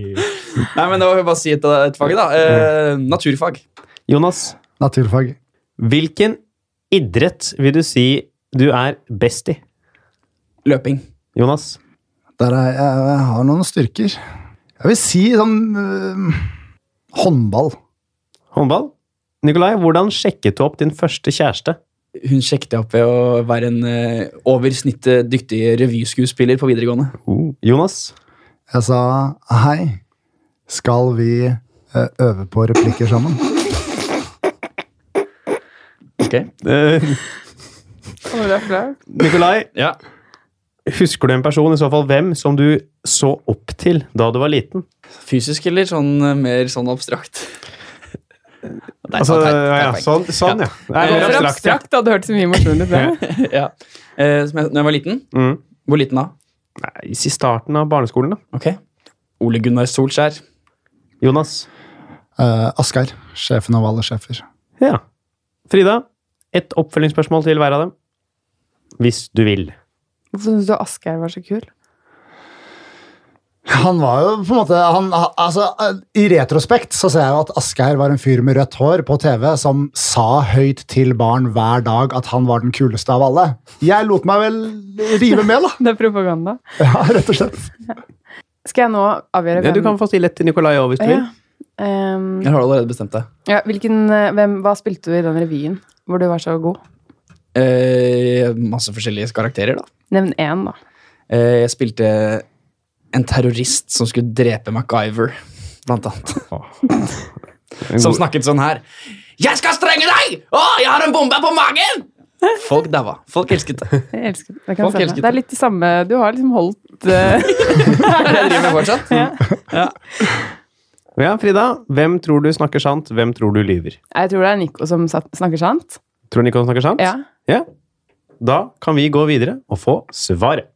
Nei, men det var jo bare å si et, et fag, da. Eh, naturfag. Jonas, Naturfag. hvilken idrett vil du si du er best i? Løping. Jonas? Der er, jeg, jeg har noen styrker. Jeg vil si sånn øh, håndball. Håndball? Nikolai, hvordan sjekket du opp din første kjæreste? Hun sjekket jeg opp ved å være en eh, over snittet dyktig revyskuespiller på videregående. Oh. Jonas? Jeg sa hei, skal vi øh, øve på replikker sammen? Eh, Å, det er flau. Nikolai, Ja. husker du en person, i så fall hvem, som du så opp til da du var liten? Fysisk eller sånn eh, mer sånn abstrakt? Nei, Altså, nei, nei, ja, nei. sånn, sånn, ja. Det er Ja. mer For abstrakt, ja. abstrakt, det hadde hørt så mye morsomt ut. det. ja. Eh, som jeg, når jeg var liten? Mm. Hvor liten da? Nei, I starten av barneskolen, da. Ok. Ole Gunnar Solskjær. Jonas? Uh, Asgeir, sjefen av alle sjefer. Ja. Frida, et oppfølgingsspørsmål til hver av dem. Hvis du vil. Hvorfor syns du Asgeir var så kul? Han var jo på en måte han, altså, I retrospekt så ser jeg jo at Asgeir var en fyr med rødt hår på TV som sa høyt til barn hver dag at han var den kuleste av alle. Jeg lot meg vel rive med, da. Det er propaganda. Ja, rett og slett. Skal jeg nå avgjøre Ja, du kan få stille et til Nikolai òg, hvis du vil. Ja. Ehm, Jeg har allerede bestemt det. ja, hvilken, eh, hvem, Hva spilte du i den revyen hvor du var så god? Eh, masse forskjellige karakterer, da. Nevn én, da. Eh, jeg spilte en terrorist som skulle drepe MacGyver, blant annet. Som snakket sånn her. Jeg skal strenge deg! Å, jeg har en bombe på magen! Folk daua. Folk elsket det. Jeg elsker det. Det, kan Folk stemme. elsket det er det. litt det samme Du har liksom holdt eh, Jeg driver med fortsatt. Ja, Frida, hvem tror du snakker sant, hvem tror du lyver? Jeg tror det er Nico som sa- snakker sant. Tror du Nikon snakker sant? Ja. Ja. Da kan vi gå videre og få svaret.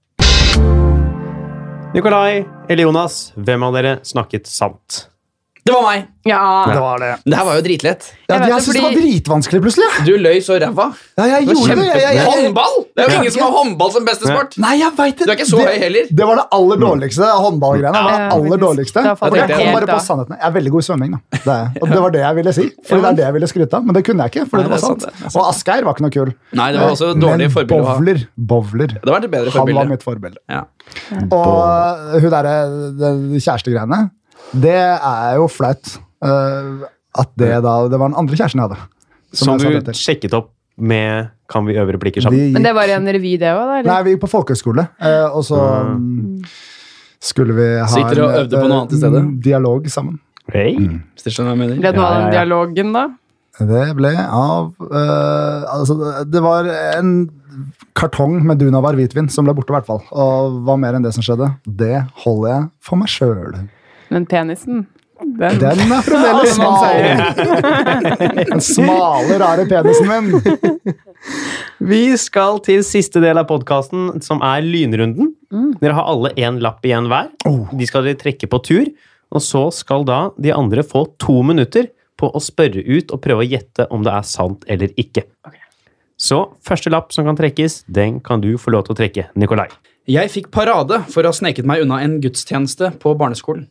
Nikolai eller Jonas, hvem av dere snakket sant? Det var meg. Ja. Det var det. Det her var jo dritlett. Ja, Jeg vet jeg det, syns det var fordi- dritvanskelig, plutselig. Du løy så ræva. Ja, ja jeg Det var gjorde det. Jeg, jeg, jeg, jeg, Håndball! Det er jo ingen som har håndball som beste sport. Nei, jeg vet det. Du er ikke så Det- høy heller. Det var det aller dårligste. Håndballgreiene var det Mm. Ja, aller faktisk. dårligste. Da falt Og jeg jeg kom helt bare på av. sannheten. Jeg er veldig god i svømming, da. Det er, jeg. og det var det jeg ville si. Fordi det er det jeg ville skryte av. Men det kunne jeg ikke, fordi Nei, det var det er sant, sant. det er sant. Og Asgeir var ikke noe kul. Nei, det var også dårlig Men forbilde å ha. Bowler. Bowler. Det var et bedre Han var forbilde. mitt forbilde. Ja. Og hun derre den kjærestegreiene, det er jo flaut. eh, at det da Det var den andre kjæresten jeg hadde. Som jeg du satt etter. sjekket opp med Kan vi øve replikker Vi sammen? gikk- Men det var i en revy, det òg, da? Nei, Eller? vi gikk på folkehøyskole, eh, og så mm, skulle vi ha Så gikk dere og en, øvde på noe annet i eh, stedet? dialog sammen. Hey. Hvis du skjønner hva jeg Ble mener. det noe av Ja, den ja, ja. dialogen, da? Det ble av eh, Altså, det var en kartong med Dunavar hvitvin som ble borte, i hvert fall. Og hva mer enn det som skjedde? Det holder jeg for meg sjøl. Men penisen den. Den er fremdeles smal. Den smale, rare penisen min. Vi skal til siste del av podkasten, som er lynrunden. Dere har alle én lapp igjen hver. De skal dere trekke på tur. Og så skal da de andre få to minutter på å spørre ut og prøve å gjette om det er sant eller ikke. Så første lapp som kan trekkes, den kan du få lov til å trekke, Nikolai. Jeg fikk parade for å ha sneket meg unna en gudstjeneste på barneskolen.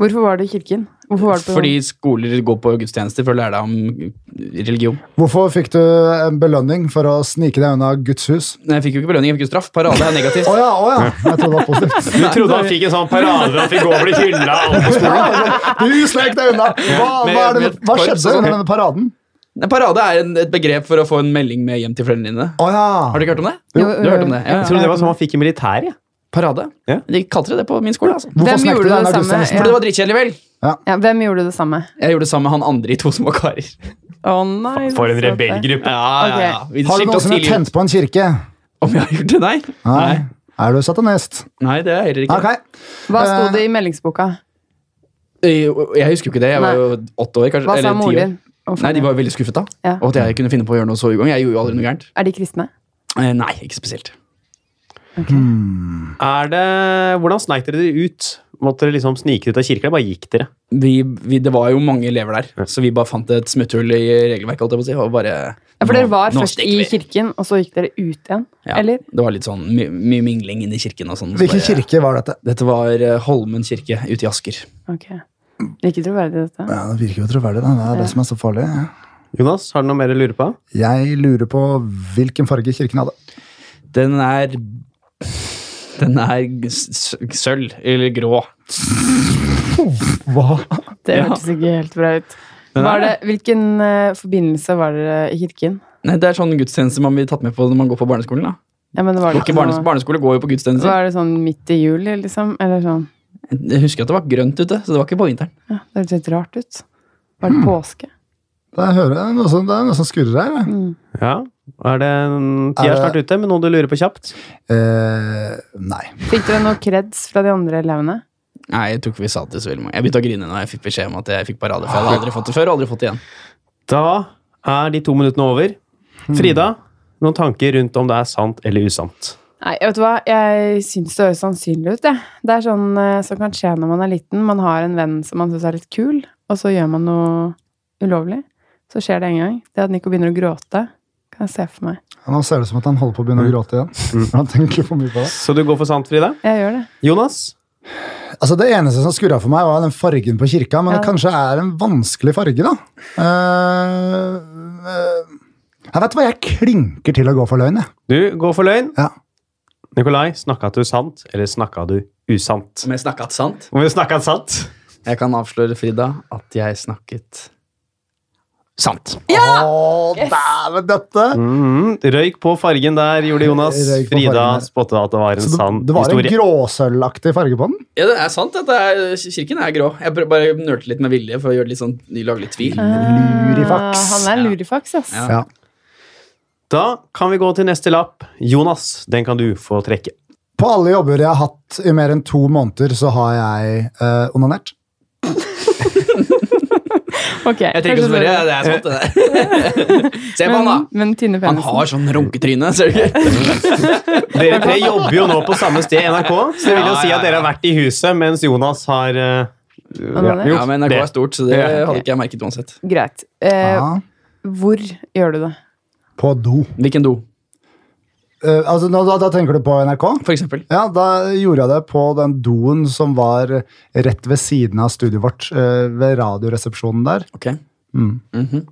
Hvorfor var du i kirken? Hvorfor var du på Fordi skoler går på gudstjenester for å lære deg om eh, religion. Hvorfor fikk du en belønning for å snike deg unna Guds hus? Nei, jeg fikk jo ikke belønning, jeg fikk jo straff. Parade er negativt. Å ja, å ja. Jeg trodde det var positivt. Du trodde han fikk en sånn parade, han fikk gå og bli hylla. Du snek deg unna! Hva, hva, er det, hva skjedde under denne paraden? Nei, Parade er en, et begrep for å få en melding med hjem til foreldrene dine. Å ja. Har du ikke hørt om det? Jo, øh, du har hørt om det? Ja, Jeg ja. trodde det var sånn man fikk i militæret. Ja. Parade? Ja. De kalte det det på min skole. altså. Hvorfor Hvem snakket gjorde du det deg samme? nærmest? For det var dritkjedelig, vel? ja, Hvem gjorde det samme? Jeg gjorde det sammen med han andre i to små karer. Å nei For en så søte. rebellgruppe. Ja, ja, ja. Vi Har du skilte oss noensinne tidlig ut. tent på en kirke? Om jeg har gjort det? Nei. Nei. Er du satanist? Nei, det er jeg heller ikke. Ok. Hva sto det i meldingsboka? Eh, Jeg husker jo ikke det. Jeg var jo åtte år, kanskje. Hva sa eller ti moren år. din? Å, faen, Nei, De ja. var veldig skuffet da. Ja. Og at jeg kunne finne på å gjøre noe så ugagn. Jeg gjorde jo aldri noe gærent. Er de kristne? Eh, Nei, ikke spesielt. Er det, hvordan sneik dere dere ut? Måtte dere liksom snike ut av kirka? eller Bare gikk dere? Vi, vi, det var jo mange elever der, så vi bare fant et smutthull i regelverket. holdt jeg på å si, og bare... Ja, for dere var Nå- nå først stikker i vi. kirken, og så gikk dere ut igjen? Ja, Eller? Det var litt sånn my- mye mingling inne i kirken. og sånn. så Hvilken bare- kirke var dette? Dette var eh, Holmen kirke ute i Asker. Ok. Ikke troverdig, dette. Ja, Det virker jo troverdig. da. Det er det som er så farlig. Jonas, har du noe mer å lure på? Jeg lurer på hvilken farge kirken hadde. Den er Den er g- s- sølv, eller grå. Hva? Det Ja. hørtes ikke helt bra ut. Den Var er, det, hvilken eh, forbindelse var dere i kirken? Nei, det er sånn gudstjeneste man blir tatt med på når man går på barneskolen. da. Ja, men var, Går det ikke ikke barnes, noe, barneskole går jo på gudstjenester. var det sånn midt i juli, liksom? Eller sånn? Jeg husker at det var grønt ute, så det var ikke på vinteren. Ja, det hørtes litt rart ut. Var Mm. det påske? Det er, hører, jeg noe som, det er noe som skurrer her. jeg. Ja. Er det Tida er snart ute, men noe du lurer på kjapt? Eh, nei. Fikk dere noe kreds fra de andre elevene? Nei, Jeg tror ikke vi sa det til så veldig mange. Jeg begynte å grine når jeg fikk beskjed om at jeg fikk parade. For jeg hadde aldri fått det før, og aldri fått det igjen. Da er de to minuttene over. Hmm. Frida, noen tanker rundt om det er sant eller usant? Nei, vet du hva? Jeg syns det høres sannsynlig ut. jeg. Det er sånn eh, som kan skje når man er liten. Man har en venn som man syns er litt kul, og så gjør man noe ulovlig. Så skjer det en gang. Det at Nico begynner å gråte, kan jeg se for meg. Ja, Nå ser det ut som at han holder på å begynne å Mm. gråte igjen. Han tenker for mye på det. Så du går for sant, Frida? Jeg gjør det. Jonas? Altså, det eneste som skurra for meg, var den fargen på kirka, men det Ja. kanskje er en vanskelig farge, da. Eh, eh, jeg vet hva, jeg klinker til å gå for løgn, jeg. Du går for løgn. Ja. Nikolai, snakka du sant, eller snakka du usant? Om jeg snakket sant? Om vi snakka sant? Jeg kan avsløre Frida at jeg snakket Sant. Å, dæven døtte! Mhm. Røyk på fargen der, gjorde Jonas. Røyk på Frida fargen der. spotta at det var en Så det, sann det var en historie. gråsølvaktig farge på den? Ja, det er sant. Dette er, kirken er grå. Jeg br- bare nølte litt med vilje for å gjøre det litt sånn, lage litt tvil. Lurifaks. Ah, han er en lurifaks, ass. Ja. Ja. Da kan vi gå til neste lapp. Jonas, den kan du få trekke. På alle jobber jeg har hatt i mer enn to måneder, så har jeg eh, onanert. Ok, Jeg trenger ikke å kanskje spørre. så- Det er sant, det der. Se på han, da. Men, men Tine Han Penisen. har sånn runketryne, ser du ikke? Dere tre jobber jo nå på samme sted i NRK, så det vil jo Ja, si ja, at dere har vært i huset mens Jonas har eh, har det? gjort Ja, men NRK er det. stort, så det Ja, ok. hadde ikke jeg merket uansett. Greit. Eh, Ja, Hvor gjør du det? på do. Hvilken do, Eh, altså, nå, da, da tenker du på NRK? for eksempel? Ja, da gjorde jeg det på den doen som var rett ved siden av studioet vårt, eh, ved radioresepsjonen der. Ok. Mhm.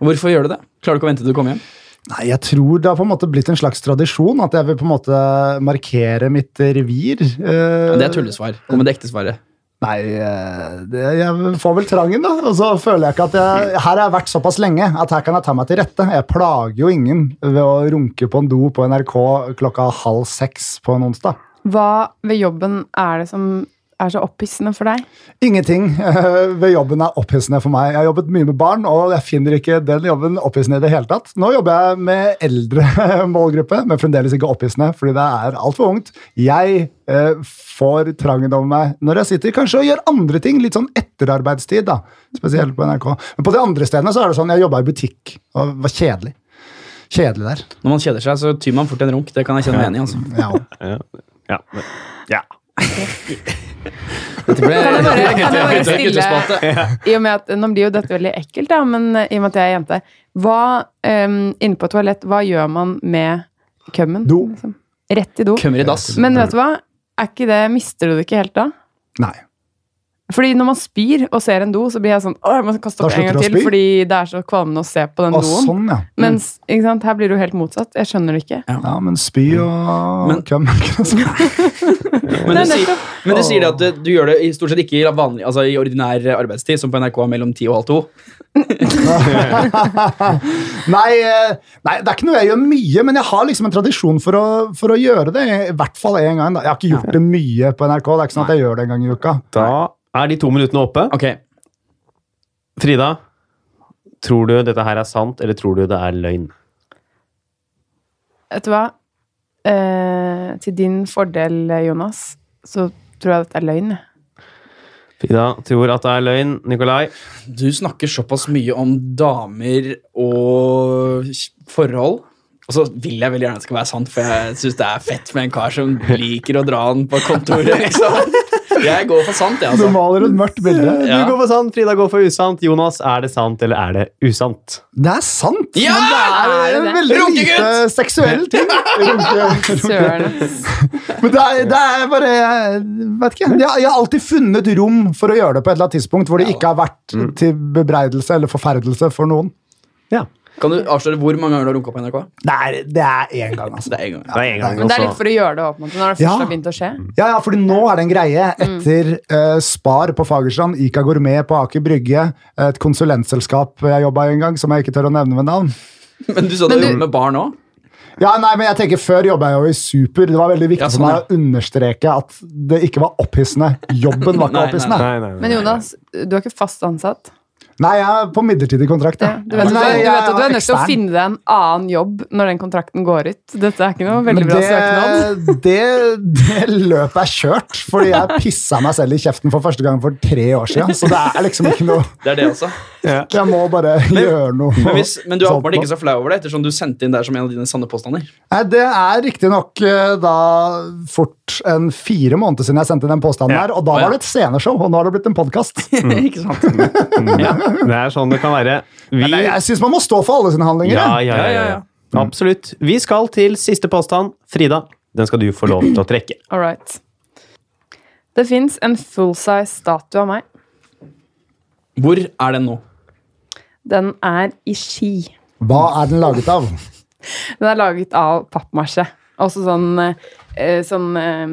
Hvorfor gjør du det? Klarer du ikke å vente til du kommer hjem? Nei, jeg tror det har på en måte blitt en slags tradisjon, at jeg vil på en måte markere mitt revir. eh, Det er tullesvar. Kom med det ekte svaret. Nei, eh, det, jeg får vel trangen, da. Og så føler jeg ikke at jeg Her har jeg vært såpass lenge at her kan jeg ta meg til rette. Jeg plager jo ingen ved å runke på en do på NRK klokka halv seks på en onsdag. Hva ved jobben er det som er så opphissende for deg? Ingenting eh, ved jobben er opphissende for meg. Jeg har jobbet mye med barn, og jeg finner ikke den jobben opphissende i det hele tatt. Nå jobber jeg med eldre målgruppe, men fremdeles ikke opphissende, fordi det er altfor ungt. Jeg eh, får trangen over meg når jeg sitter kanskje og gjør andre ting, litt sånn etterarbeidstid, da. Spesielt på NRK. Men på de andre stedene så er det sånn, jeg jobba i butikk, og det var kjedelig. Kjedelig der. Når man kjeder seg, så tyr man fort en runk. Det kan jeg kjenne meg enig i. altså. Ja. Ja. men- ja. Dette ble Kan jeg bare- kan jeg bare stille- guttespalte. I og med at, Nå blir jo dette veldig ekkelt, da, men eh, i og med at jeg er jente. Hva, em, inne på et toalett, hva gjør man med kømmen? Do. liksom? Rett i do. Kømmer i dass. Men vet du hva? Er ikke det, Mister du det ikke helt da? Nei. Fordi når man spyr og ser en do, så blir jeg sånn Å, jeg må kaste opp Da en gang slutter du å til, spy? fordi det er så kvalmende å se på den Og doen. sånn, ja. Mens ikke sant? her blir det jo helt motsatt. Jeg skjønner det ikke. Ja, men spy og Men- køm. Men Nei, du, sier, nettopp. men du sier det at eh, du, du gjør det i stort sett ikke i, vanlig, altså i ordinær arbeidstid, som på NRK er mellom 10 og halv to. Nei, eh, nei, det er ikke noe jeg gjør mye, men jeg har liksom en tradisjon for å, for å gjøre det. I hvert fall én gang. da. Jeg har ikke gjort det mye på NRK. Det er ikke sånn at jeg gjør det en gang i uka. Da er de to minuttene oppe. Ok, Frida, tror du dette her er sant, eller tror du det er løgn? Vet du hva? Eh, til din fordel, Jonas, så tror jeg dette er løgn. jeg. Frida tror at det er løgn. Nikolai? Du snakker såpass mye om damer og forhold. Og så vil jeg veldig gjerne at det skal være sant, for jeg syns det er fett med en kar som liker å dra han på kontoret, liksom. Jeg går for sant, jeg, Du altså. maler et mørkt bilde. Ja. Du går for sant, Frida går for usant. Jonas, er det sant, eller er det usant? Det er sant! Ja! Det er en veldig lite Runkegutt! seksuell ting. Runke- Søren. Altså- Men det er, det er bare jeg Vet ikke. Jeg, jeg har alltid funnet rom for å gjøre det på et eller annet tidspunkt hvor det ikke har vært Mm. til bebreidelse eller forferdelse for noen. Ja. Kan du avsløre hvor mange ganger du har runka på NRK? Det er, det er én gang, altså. Det er en gang. Det er en gang, Men det er altså. litt for å gjøre det opp, på en måte, når Ja. det først har begynt å skje. Ja, ja, fordi nå er det en greie. Etter eh, Spar på Fagerstrand, Ica Gourmet på Aker Brygge, et konsulentselskap jeg jobba i en gang, som jeg ikke tør å nevne ved navn. Men du sa du Men du- jobbet med barn òg? Ja, nei, men jeg tenker Før jobba jeg jo i Super. Det var veldig viktig Ja, for sånn, meg å understreke at det ikke var opphissende. Jobben var Nei, ikke nei, opphissende. Nei, Nei, nei, nei. Men Jonas, du er ikke fast ansatt. jeg er på midlertidig kontrakt. Ja, Ja. du vet, at Men du, nei, du, jeg vet at du er nødt til å ekstern. finne deg en annen jobb når den kontrakten går ut. Dette er ikke noe Men veldig bra søknad. det, det, det løpet er kjørt, fordi jeg pissa meg selv i kjeften for første gang for tre år siden. Så det er liksom ikke noe Det er det også. Jeg må bare gjøre noe. Men, hvis, men du er sånt åpenbart nå. ikke så flau over det, ettersom du sendte inn der som en av dine sanne påstander. Nei, Det er riktignok da fort en fire måneder siden jeg sendte den påstanden Ja. her, og da Å, ja. var det et sceneshow, og nå har det blitt en podkast. ikke sant? Det er sånn det kan være. Vi Jeg syns man må stå for alle sine handlinger. Ja, jeg. ja, ja, Ja, ja, ja. Absolutt. Vi skal til siste påstand. Frida, den skal du få lov til å trekke. All right. Det fins en full-size statue av meg. Hvor er den nå? Den er i Ski. Hva er den laget av? Den er laget av pappmasje. Også sånn, eh, sånn, eh,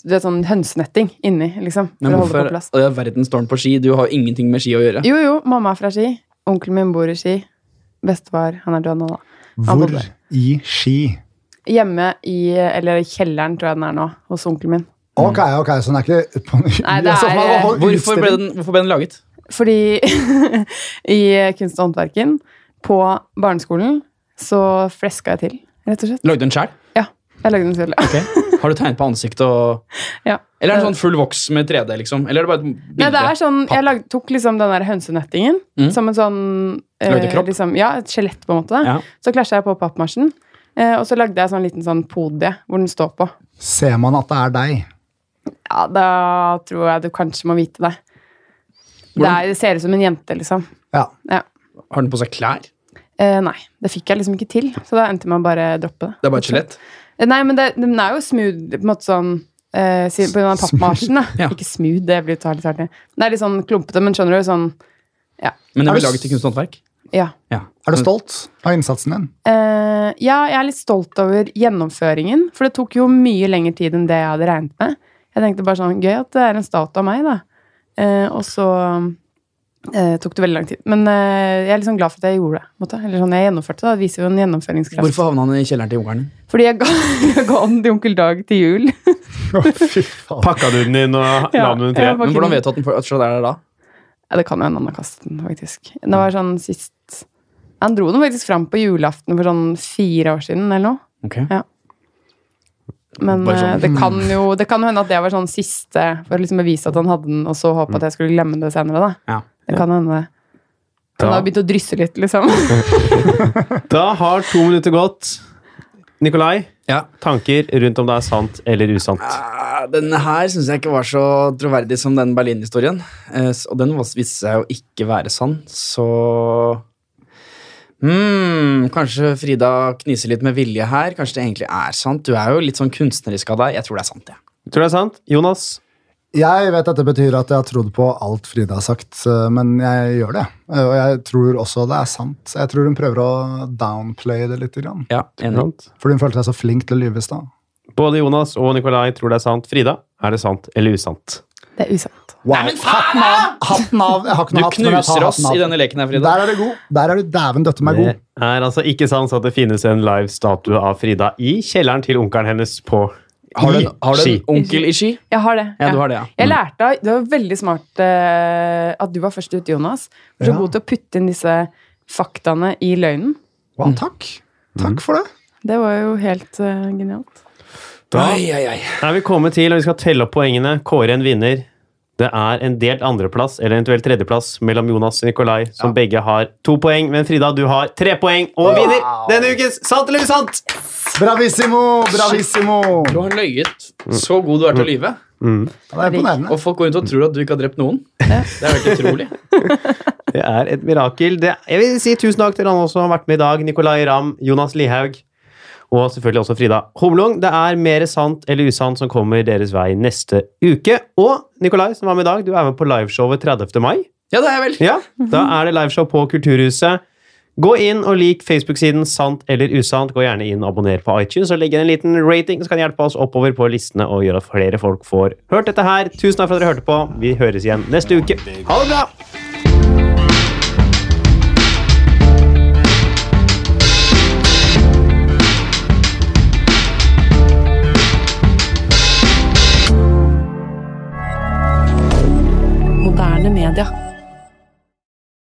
du vet, sånn hønsenetting inni, liksom. For Men å holde hvorfor på plass. Å, ja, verden står den på ski? Du har ingenting med ski å gjøre. Jo, jo, mamma er fra Ski. Onkelen min bor i Ski. Bestefar, han er død nå, da. Han Hvor bodde- i Ski? Hjemme i Eller i kjelleren, tror jeg den er nå, hos onkelen min. Ok, ok, så den er ikke på Nei, det Jeg så for meg er- å holde eh, Hvorfor ble, utstilling. den, hvorfor ble den laget? Fordi i Kunst og håndverken, på barneskolen, så fleska jeg til, rett og slett. Lagde du den sjæl? Ja. Jeg lagde den selv. Har du tegnet på ansiktet og Ja. Eller er det sånn full voks med 3D, liksom? Eller er det bare et bilde? Nei, det er sånn, jeg lag, tok liksom den der hønsenettingen Mm. som en sånn Lagde kropp? Liksom, ja, et skjelett, på en måte. Ja. Så klasja jeg på pappmasjen, eh, og så lagde jeg sånn liten sånn podie hvor den står på. Ser man at det er deg? Ja, da tror jeg du kanskje må vite det. Det, Hvordan- er, det ser ut som en jente, liksom. Ja. Ja. Har den på seg klær? Eh, nei, det fikk jeg liksom ikke til, så da endte jeg med å bare droppe det. Det er bare et skjelett? Eh, Nei, men det, den er jo smooth, på en måte sånn eh, si- På grunn av pappmasjen, da. Ja. Ikke smooth, det blir jo litt hardt. Det er litt sånn klumpete, men skjønner du, sånn Men den Er ble du s- laget til kunst og håndverk? Ja. Ja. Er du stolt av innsatsen din? Eh, ja, jeg er litt stolt over gjennomføringen, for det tok jo mye lengre tid enn det jeg hadde regnet med. Jeg tenkte bare sånn, gøy at det er en stat av meg, da. Eh, og så eh, tok det veldig lang tid. Men eh, jeg er liksom glad for at jeg gjorde det. på en Måte. Eller sånn, jeg gjennomførte det. Det viser jo en gjennomføringskraft. Hvorfor havna han i kjelleren til onkelen? Fordi jeg ga, jeg ga den til onkel Dag til jul. Pakka du den inn og la Ja, den under jeg treet? var Men ikke- hvordan vet du at den for- at skjellet er der da? Ja, det kan jo hende han har kastet den, faktisk. Det var sånn sist Han dro den faktisk fram på julaften for sånn fire år siden, eller noe. Ok. Men Bare sånn, eh, det kan jo det kan jo hende at det var sånn siste for å liksom bevise at han hadde den, og så håpe at jeg skulle glemme det senere. da. Ja. Det kan hende. Han har Da, begynt å drysse litt, liksom. da har to minutter gått. Nikolai, Ja. tanker rundt om det er sant eller usant. Ah, Den her syns jeg ikke var så troverdig som den Berlin-historien. Eh, s- Og den vas- viste seg å ikke være sann, så Hmm, Kanskje Frida kniser litt med vilje her. Kanskje det egentlig er sant? Du er jo litt sånn kunstnerisk av deg. Jeg tror det er sant, jeg. Tror du det er sant? Jonas? Jeg vet dette betyr at jeg har trodd på alt Frida har sagt, eh, men jeg gjør det. Eh, Og jeg tror også det er sant. Jeg tror hun prøver å downplaye det litt, grann. Ja, enig. Sant? fordi hun følte seg så flink til å lyve i stad. Både Jonas og Nikolai tror det er sant. Frida, er det sant eller usant? Det er usant. Wow. Hatten av! Hatten av! Jeg har ikke Du noe hatt, men jeg tar knuser oss hatten av. i denne leken her, Frida. Der er du god. Der er du dæven døtte meg Det god. er altså ikke sant at det finnes en live statue av Frida i kjelleren til onkelen hennes på Har du en, har du en Ski. onkel i ski? Jeg har det. Ja, du har det, ja. Mm. Jeg lærte av Det var veldig smart eh, at du var først ute, Jonas. Du er så Ja. god til å putte inn disse faktaene i løgnen. Wow, takk. Mm. Takk for det. Det var jo helt eh, genialt. Da Ai, ai, ai. er vi kommet til, og vi skal telle opp poengene, kåre en vinner. Det er en delt andreplass, eller eventuelt tredjeplass, mellom Jonas og Nikolai, som begge har to poeng. Men Frida, du har tre poeng og vinner denne ukens Sant eller usant! Bravissimo! Bravissimo! Du har løyet. Mm. Så god du er til å lyve. Ja, Det er imponerende. Og folk går rundt og tror at du ikke har drept noen. Det er jo helt utrolig. Det er et mirakel. Det, jeg vil si tusen takk til alle som har vært med i dag. Nicolai Ramm, Jonas Lihaug og selvfølgelig også Frida Humlung. Det er mer sant eller usant som kommer deres vei neste uke. Og Nicolai, som var med i dag, du er med på liveshowet 30. mai. Ja, det er jeg vel. Ja, Da er det liveshow på Kulturhuset. Gå inn og lik Facebook-siden Sant eller usant. Gå gjerne inn og abonner på iTunes og legg inn en liten rating, som kan hjelpe oss oppover på listene og gjøre at flere folk får hørt dette her. Tusen takk for at dere hørte på. Vi høres igjen neste uke. Ha det bra! Moderne media.